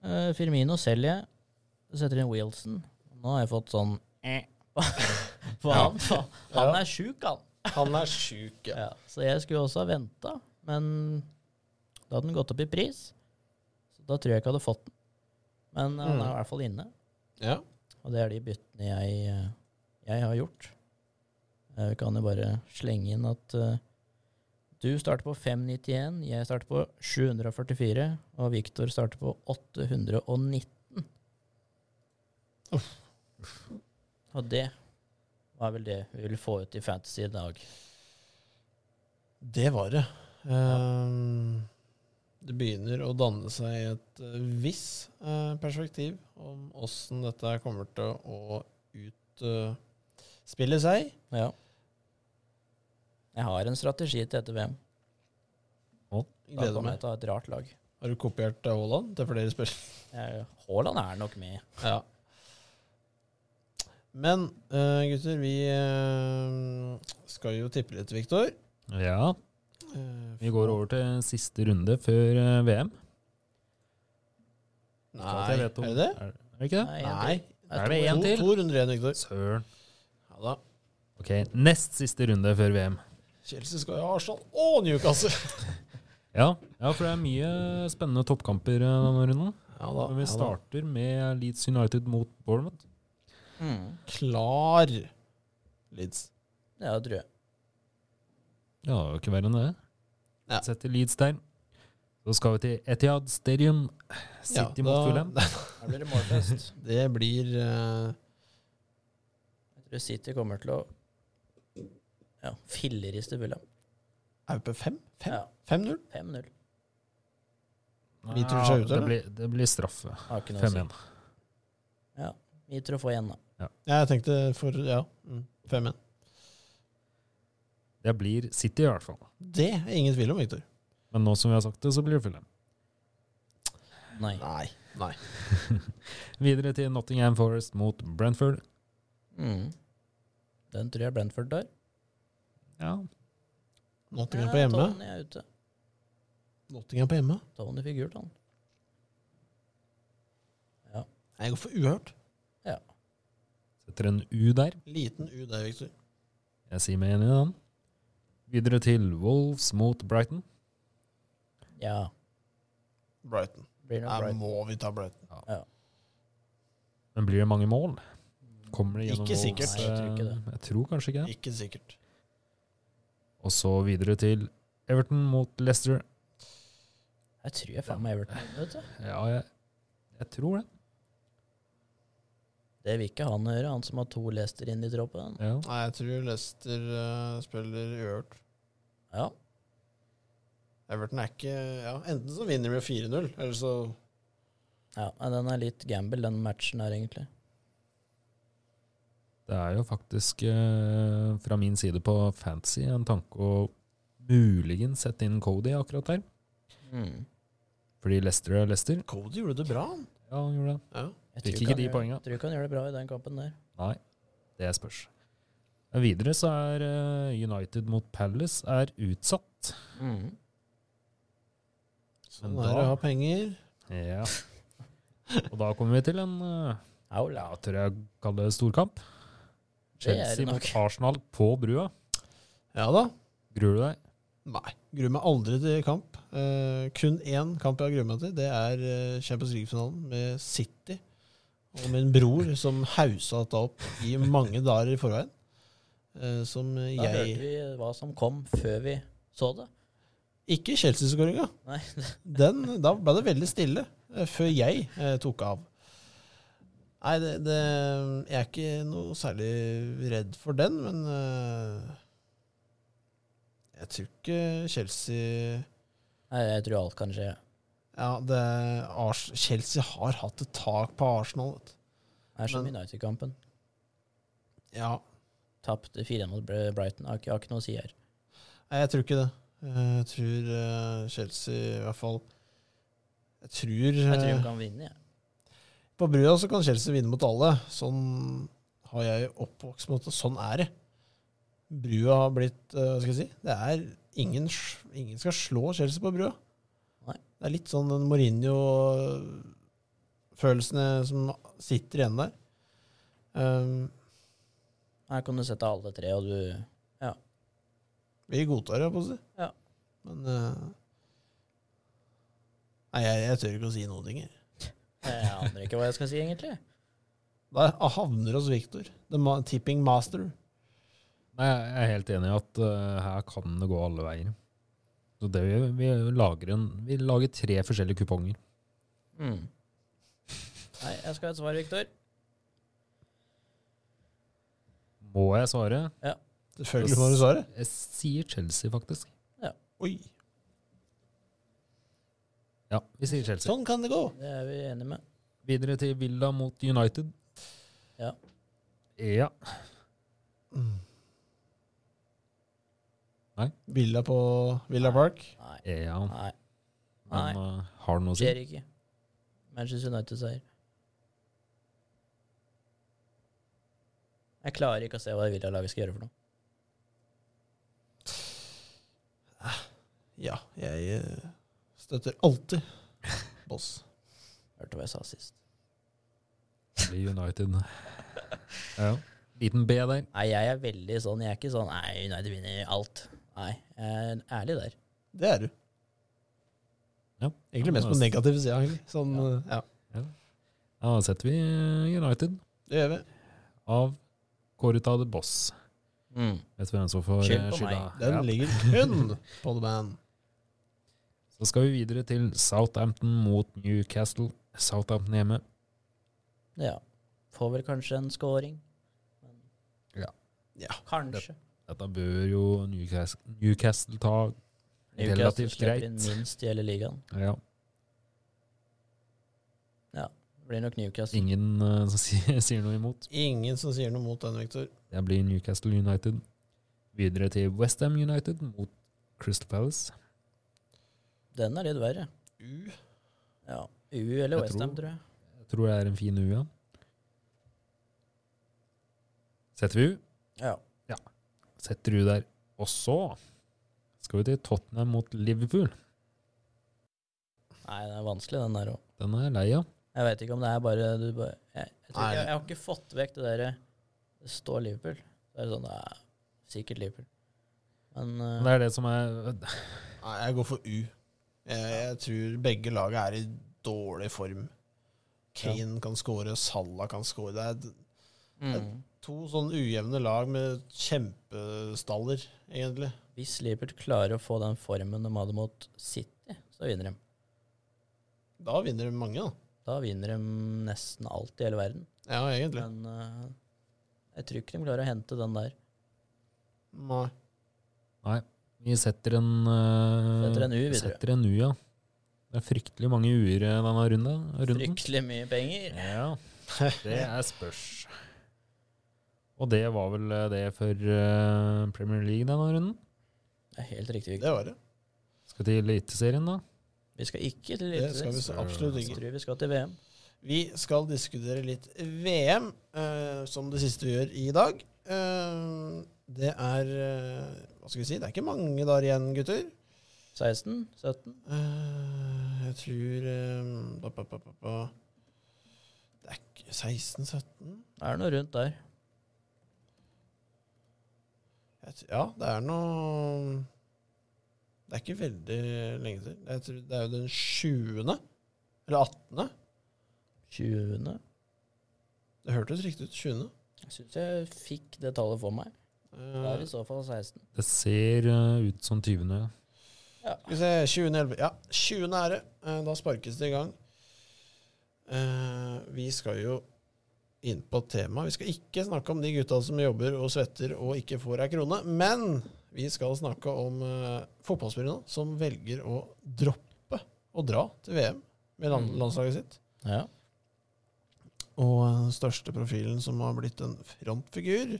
Eh, Firmino selger jeg. Setter inn Wilson. Nå har jeg fått sånn eh, <laughs> på han. for Han
Ja.
er sjuk, han.
Han er sjuk, ja.
Ja, så jeg skulle også ha venta, men da hadde den gått opp i pris. Så da tror jeg ikke jeg hadde fått den. Men eh, han er
Mm.
i hvert fall inne.
ja.
Og det er de byttene jeg, eh, jeg har gjort. Eh, Vi kan jo bare slenge inn at eh, du starter på 591, jeg starter på 744, og Viktor starter på 819. Og det var vel det vi ville få ut i Fantasy i dag.
Det var det. Ehm, det begynner å danne seg et eh, visst eh, perspektiv om åssen dette her kommer til å utspille seg.
Ja. Jeg har en strategi til etter VM. Da
Gleder
kommer jeg
meg.
til å ha et rart lag.
Har du kopiert eh, Haaland til flere spill?
<laughs> Jeg- Haaland er nok med.
Ja. Men eh, gutter, vi eh, skal jo tippe litt, Eh, Viktor.
eh, ja. Vi går over til siste runde før eh, VM.
Nei,
Alt jeg
er
vet om-
det det?
Er, er det ikke det?
Nei, en
Nei.
til.
Er det en
To,
til?
to runder igjen, Viktor.
Søren.
Ja da.
Ok, Nest siste runde før VM.
Chelsea skal jo ha Arsenal og Newcastle!
Ja, ja for det er mye spennende toppkamper eh, denne runden.
Ja da.
Men vi starter med Leeds United mot Bournemouth.
Mm.
Klar Leeds.
Ja, det tror jeg.
Ja, det er jo ikke verre enn det.
Ja.
Setter Leeds der. Så skal vi til Etihad Stadium.
Ja,
City mot
da- <laughs>
Fulham.
Her blir det målfest.
Det blir eh,
Jeg tror City kommer til å ja, filleriste Fulham.
Er vi på fem? Fem?
Ja,
5-0?
5-0.
Vi tror seg ut,
det
eller?
blir, det blir straffe.
Har ikke noe å si.
5-1.
Vi tror å få igjen, da.
Ja, jeg tenkte for Ja. mm, 5-1.
Det blir City i hvert fall.
Det er ingen tvil om, Victor.
Men nå som vi har sagt det, så blir det Fulham.
Nei.
Nei. Nei.
Videre til Nottingham Forest mot Brentford.
Mm. Den tror jeg Brentford tar.
Ja,
Nottingham
Ja,
på hjemme.
Tony er ute.
Nottingham på hjemme.
Tony fikk gult, han.
Nei, Jeg går for uhørt.
setter en U der.
Liten U der, Victor.
Jeg sier meg enig i den. Videre til Wolves mot Brighton.
Ja.
Brighton.
Blir nok
Her
Brighton.
må vi ta Brighton.
Men blir det mange mål? Kommer det gjennom
Ikke sikkert.
Wolves?
Nei, jeg tror ikke det.
Eh, Jeg tror kanskje ikke det.
Ikke sikkert.
Og så videre til Everton mot Leicester.
Jeg tror jeg faen meg Everton er ute, vet du.
Ja, jeg, jeg tror det.
Det vil ikke han gjøre, han som har to Leicester inn i troppen.
Ja.
Nei, jeg tror Leicester eh, spiller uhørt.
Ja.
Everton er ikke Ja, enten så vinner de med 4-0, eller så
ja. nei, Den er litt gamble, den matchen her, egentlig.
Det er jo faktisk eh, fra min side på fantasy en tanke å muligens sette inn Cody akkurat der.
Mm.
Fordi Leicester er Leicester.
Cody gjorde det bra, han.
Ja, han gjorde det.
Ja.
Jeg
Fikk
tror
ikke
han
de
gjør-
poenga.
Tror ikke han gjør det bra i den kampen der.
Nei, det spørs. Men Videre så er eh, United mot Palace er utsatt.
Mm.
Sånn
Men
er
da-
det å ha penger.
Ja. <laughs> Og da kommer vi til en eh, ja,
Aula.
tør jeg kalle det storkamp.
Det er det
Chelsea mot
nok.
Arsenal på brua.
Ja da.
Gruer du deg?
Nei. Gruer meg aldri til kamp. Eh, kun én kamp jeg har gruet meg til. Det er eh, Champions League-finalen med City og min bror, som hausa dette opp i mange dager i forveien. Eh, som
Da hørte
jeg
vi hva som kom før vi så det.
Ikke Chelsea-skåringa.
Nei.
Den- Da ble det veldig stille eh, før jeg eh, tok av. Nei, det, det Jeg er ikke noe særlig redd for den, men eh, Jeg tror ikke Chelsea
Nei, jeg tror alt kan skje.
Ja, det Ars Chelsea har hatt et tak på Arsenal. Vet. du.
Det er som
Men-
United-kampen.
Ja,
Tapte 4-1 mot Br- Brighton. Har ikke, har ikke noe å si her.
nei, jeg tror ikke det. Eh, Jeg tror eh, Chelsea i hvert fall Jeg tror,
Jeg tror de
eh,
kan vinne, jeg.
På brua så kan Chelsea vinne mot alle. Sånn har jeg oppvokst med det. Sånn er det. Brua har blitt eh, Hva skal jeg si? Det er ingen, sj- ingen skal slå Chelsea på brua.
Nei.
Det er litt sånn den Mourinho-følelsene som sitter igjen der. Um,
Her kan du sette alle tre, og du
Vi godtar det, jeg på å si.
Ja.
Men eh, Nei, jeg, jeg tør ikke å si noen ting. jeg.
Jeg aner ikke hva jeg skal si, egentlig.
Da havner oss Victor. The ma tipping master.
Nei, jeg er helt enig i at eh, her kan det gå alle veier. Så det vi, vi, lager en, vi lager tre forskjellige kuponger.
Mm. Nei, jeg skal ha et svar, Viktor.
Må jeg svare?
Selvfølgelig må du svare.
Jeg sier Chelsea, faktisk.
Oi,
Ja, vi sier Chelsea.
sånn kan det gå!
Det er vi enige med.
Videre til Villa mot United.
Ja.
Ja.
Villa på Villa Park.
Nei.
ja.
Nei. Nei.
Men eh, har det noe å si?
Skjer ikke. Manchester United-seier. Jeg klarer ikke å se hva det Villa-laget skal gjøre for noe.
Ja, jeg eh, støtter
<laughs>
alltid boss.
Hørte hva jeg sa sist.
Blir United. <laughs> Ja. Liten B der.
Nei, jeg er veldig sånn Jeg er ikke sånn Nei, United vinner alt. Nei, jeg er ærlig der.
Det er du.
Ja.
Egentlig mest på den negative sida. egentlig. Sånn, ja.
Da setter vi eh, United
Det gjør vi.
av Corita de Boss. Vet du hvem som får eh,
Skyld på
skylda?
meg.
Den
Ja.
ligger
<laughs>
kun på The Band.
Så skal vi videre til Southampton mot Newcastle. Southampton hjemme.
Ja. Får vel kanskje en scoring.
Ja.
Ja.
Kanskje.
Dette bør jo Newcastle, Newcastle ta.
Newcastle
Relativt
slipper inn
greit.
minst i hele ligaen.
Ja.
Det blir nok Newcastle.
Ingen eh, som <laughs> sier, sier noe imot.
Ingen som sier noe mot den, Victor.
Det blir Newcastle United. Videre til Westham United mot Crystal Palace.
Den er litt verre.
U.
Ja. U eller
Jeg
Westham,
tror-
tror jeg.
Jeg tror det er en fin U, ja. Setter vi U?
Ja.
Setter U der. Og så skal vi til Tottenham mot Liverpool.
Nei, den er vanskelig, den der òg.
Den er jeg lei av.
Jeg vet ikke om det er bare, du bare jeg, jeg, tror
Nei.
ikke, jeg, jeg har ikke fått vekk det derre Det står Liverpool. Det er sånn det er Sikkert Liverpool. Men eh,
Men Det er det som er
Nei, jeg går for U. Jeg, jeg tror begge laget er i dårlig form. Kane kan score, Salah kan score. Det er
mm,
to sånn ujevne lag med kjempestaller, egentlig.
hvis Liverpool klarer å få den formen de hadde mot City, så vinner de.
Da vinner de mange, da.
Da vinner de nesten alt i hele verden.
Ja, egentlig.
Men eh, jeg tror ikke de klarer å hente den der.
Nei.
Vi setter en eh,
Setter en U videre.
Setter en U, ja. Det er fryktelig mange U-er eh, denne runda, runden.
Fryktelig mye penger.
Ja, det er spørs. Og det var vel eh, det for eh, Premier League denne runden.
Det er helt riktig. Victor.
Det var det.
Skal til Eliteserien, da.
Vi skal ikke til
Det skal
Eliteserien.
vi så absolutt
Jeg
ikke.
tror vi skal til VM.
Vi skal diskutere litt VM, eh, som det siste vi gjør i dag. Eh, det er eh, Hva skal vi si? Det er ikke mange dager igjen, gutter.
16? 17?
Eh, jeg tror eh, ba, ba, ba, ba, ba. Det er ikke 16-17?
Det er noe rundt der.
Jeg tr- Ja, det er noe Det er ikke veldig lenge til. Jeg tror det er jo den 20. Eller 18.
20.
Det hørtes riktig ut. 20.
Jeg syns jeg fikk det tallet for meg. Det
Eh,
er i så fall 16.
Det ser eh, ut som 20. ja.
Skal vi se, 2011. Ja, 20. er det. Eh, Da sparkes det i gang. Eh, Vi skal jo inn på temaet. Vi skal ikke snakke om de gutta som jobber og svetter og ikke får ei krone, men vi skal snakke om eh, fotballspillerne som velger å droppe å dra til VM med land
Mm.
landslaget sitt.
Ja.
Og den største profilen som har blitt en frontfigur,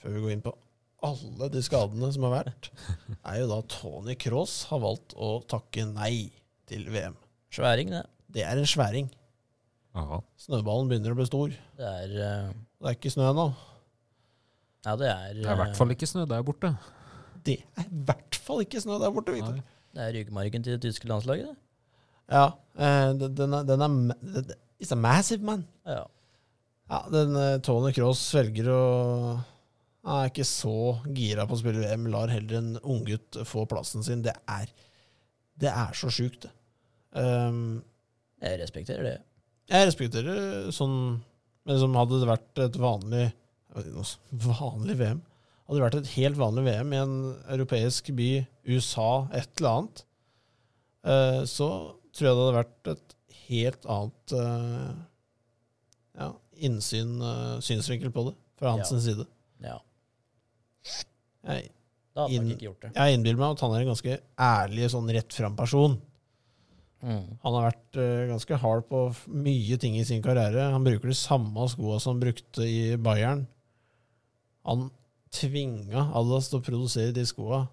før vi går inn på alle de skadene som har vært, er jo da Tony Cross har valgt å takke nei til VM.
Sværing, det.
Det er en sværing.
Ja.
Snøballen begynner å bli stor.
Det er eh,
Det er ikke snø ennå.
Ja, det er eh,
Det er i hvert fall ikke snø der borte.
Det er i hvert fall ikke snø der borte. Victor.
Nei.
Det er ryggmargen til det tyske landslaget, det.
Ja, eh, den- den er, den er ma- den- den- It's a massive man.
Ja.
Ja, den eh, Tony Cross velger å Han er ikke så gira på å spille VM, lar heller en unggutt få plassen sin. Det er, det er så sjukt, det. Ehm,
Jeg respekterer det.
jeg respekterer sånn Men som hadde det vært et vanlig Vanlig VM Hadde det vært et helt vanlig VM i en europeisk by, USA, et eller annet, eh, så tror jeg det hadde vært et helt annet eh, ja, innsyn, eh, synsvinkel på det, fra hans
Ja.
side.
Ja.
Jeg,
Da hadde
Inn-
man ikke gjort det.
jeg innbiller meg at han er en ganske ærlig, sånn rett fram-person.
Mm.
Han har vært eh, ganske hard på f- mye ting i sin karriere. Han bruker de samme skoa som han brukte i Bayern. Han tvinga Allas til å produsere de skoa.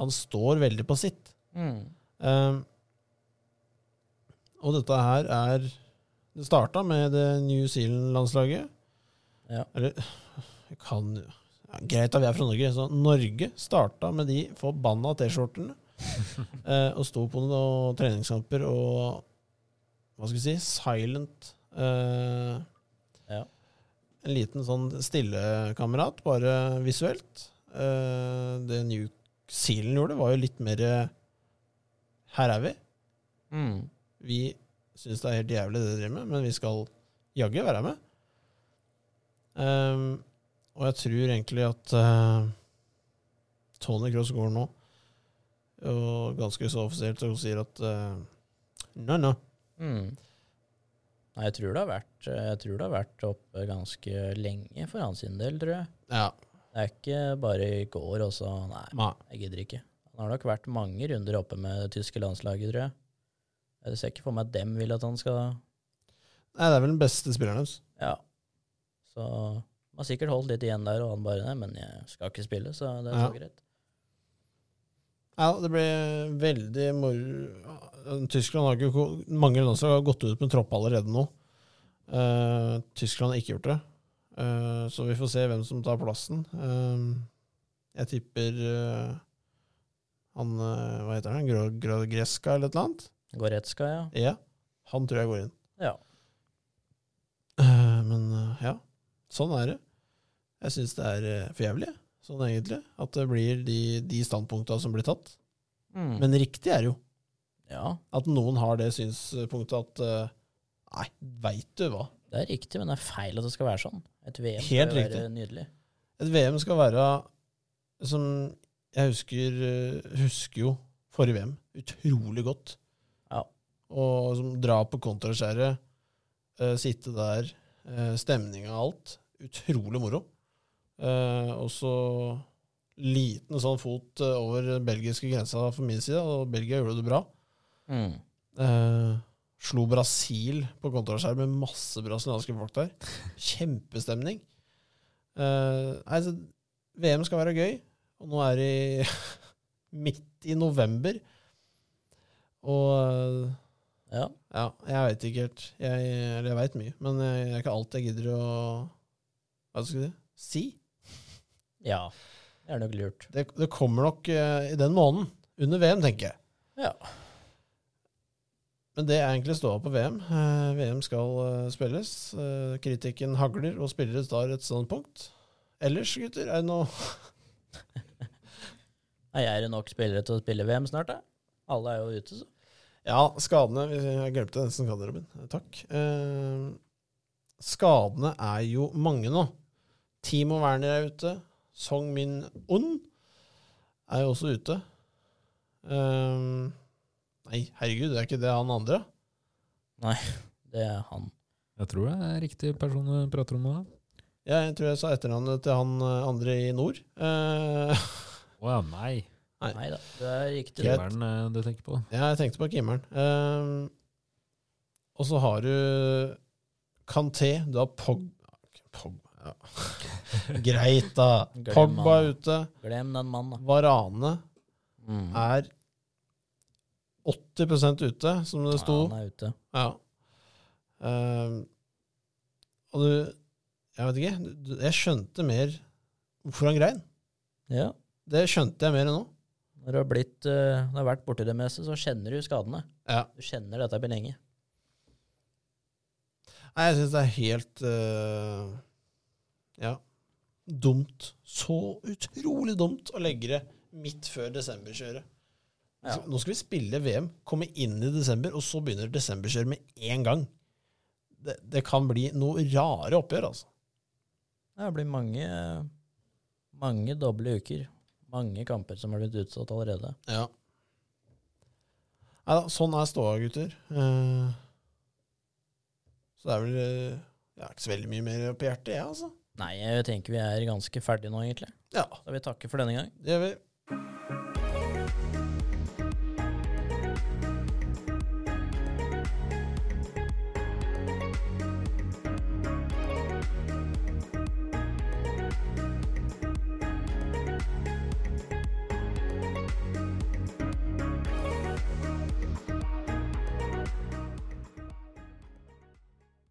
Han står veldig på sitt.
Mm.
Ehm, og dette her er Det starta med det New Zealand-landslaget.
Ja.
Eller jeg kan, ja, Greit at vi er fra Norge, så Norge starta med de forbanna
<laughs>
T-skjortene. eh, og sto på noen treningskamper og Hva skal vi si? Silent. eh,
Ja.
En liten sånn stillekamerat, bare visuelt. Eh, det New Zealand gjorde, var jo litt mer eh, Her er vi.
Mm.
Vi syns det er helt jævlig det de driver med, men vi skal jaggu være med. Ehm, og jeg tror egentlig at eh, Tony Cross går nå, og ganske så offisielt, og sier at uh, No, no.
Mm. Nei, jeg tror det har vært Jeg tror det har vært oppe ganske lenge for han sin del, tror jeg.
Ja,
Det er ikke bare i går, og så Nei,
nei.
jeg gidder ikke. Han har nok vært mange runder oppe med det tyske landslaget, tror jeg. Jeg ser ikke for meg at dem vil at han skal
nei. Det er vel den beste spilleren deres.
Ja. Så man har sikkert holdt litt igjen der, og han bare Nei, men jeg skal ikke spille, så det er så
Ja.
greit.
Ja, det ble veldig moro. Tyskland har ikke Mange landslag har gått ut med tropp allerede nå. Eh, Tyskland har ikke gjort det. Eh, så vi får se hvem som tar plassen. Eh, jeg tipper eh, han eh, Hva heter han? Gro- Grodgreska eller et eller annet?
Goretzka, ja.
Ja. Han tror jeg går inn.
Ja.
Eh, men eh, ja, sånn er det. Jeg syns det er eh, for jævlig, sånn egentlig. At det blir de, de standpunkta som blir tatt.
Mm.
Men riktig er det jo.
ja,
At noen har det synspunktet at eh, Nei, veit du hva.
det er riktig, men det er feil at det skal være sånn. Et VM skal
Helt
jo være
riktig.
nydelig.
Et VM skal være som Jeg husker, eh, husker jo forrige VM utrolig godt.
Ja.
Og som dra på kontraskjæret, eh, sitte der, uh, stemninga og alt. Utrolig moro. Eh, og så liten sånn fot eh, over den belgiske grensa for min side, og Belgia gjorde det bra.
Mm.
Eh, slo Brasil på kontraskjær med masse brasilianske folk der. Kjempestemning. Eh, nei, så VM skal være gøy, og nå er det i- <laughs> midt i november. Og eh,
Ja.
ja, jeg veit ikke helt. Jeg, eller jeg veit mye, men jeg, det er ikke alt jeg gidder å Hva skal jeg si? Si.
ja. Det er nok lurt.
Det, det kommer nok eh, i den måneden. Under VM, tenker jeg.
Ja.
Men det er egentlig ståa på VM. Eh, VM skal eh, spilles. Eh, kritikken hagler, og spillere tar et standpunkt. Ellers, gutter, er det noe
Nei, Er det nok spillere til å spille VM snart, da? Alle er jo ute, så.
Ja, skadene Jeg glemte nesten garderoben. Takk. Eh, skadene er jo mange nå. Timo Werner er ute. Song Min Un er jo også ute. Eh, nei, herregud, det er ikke det han andre.
Det er han.
Jeg tror det er riktig person du prater om nå.
Ja, jeg tror jeg sa etternavnet til han eh, andre i nord. Eh,
Å ja, nei.
Nei.
Nei da, det er riktig.
Jeg-
Kjelleren eh, du tenker på.
Ja, jeg tenkte på Kimmeren. Ehm, og så har du Kanté, du har Pog... Pog ja. <laughs> Greit, da.
Glem
Pogba
han.
er ute.
Glem den mannen, da.
Varane
Mm.
er 80 ute, som det sto.
Ja, han er ute.
Ja. Ehm, og du Jeg vet ikke. du- du- Jeg skjønte mer hvorfor han grein.
Ja.
Det skjønte jeg mer nå.
Når du har, blitt, eh, når du har vært borti det meste, så kjenner du skadene.
Ja.
Du kjenner dette blir lenge.
Nei, jeg syns det er helt eh, Ja. Dumt. Så utrolig dumt å legge det midt før desemberkjøret.
Ja.
Nå skal vi spille VM, komme inn i desember, og så begynner desemberkjøret med en gang. Det, det kan bli noe rare oppgjør, altså.
Ja, Det blir mange, mange doble uker. Mange kamper som har blitt utsatt allerede.
Ja. Nei da, sånn er ståa, gutter. Eh, så det er vel eh, Jeg har ikke så veldig mye mer på hjertet, jeg, altså.
Nei, jeg tenker vi er ganske ferdige nå, egentlig.
Ja,
Da vil vi takke for denne gang.
det gjør vi.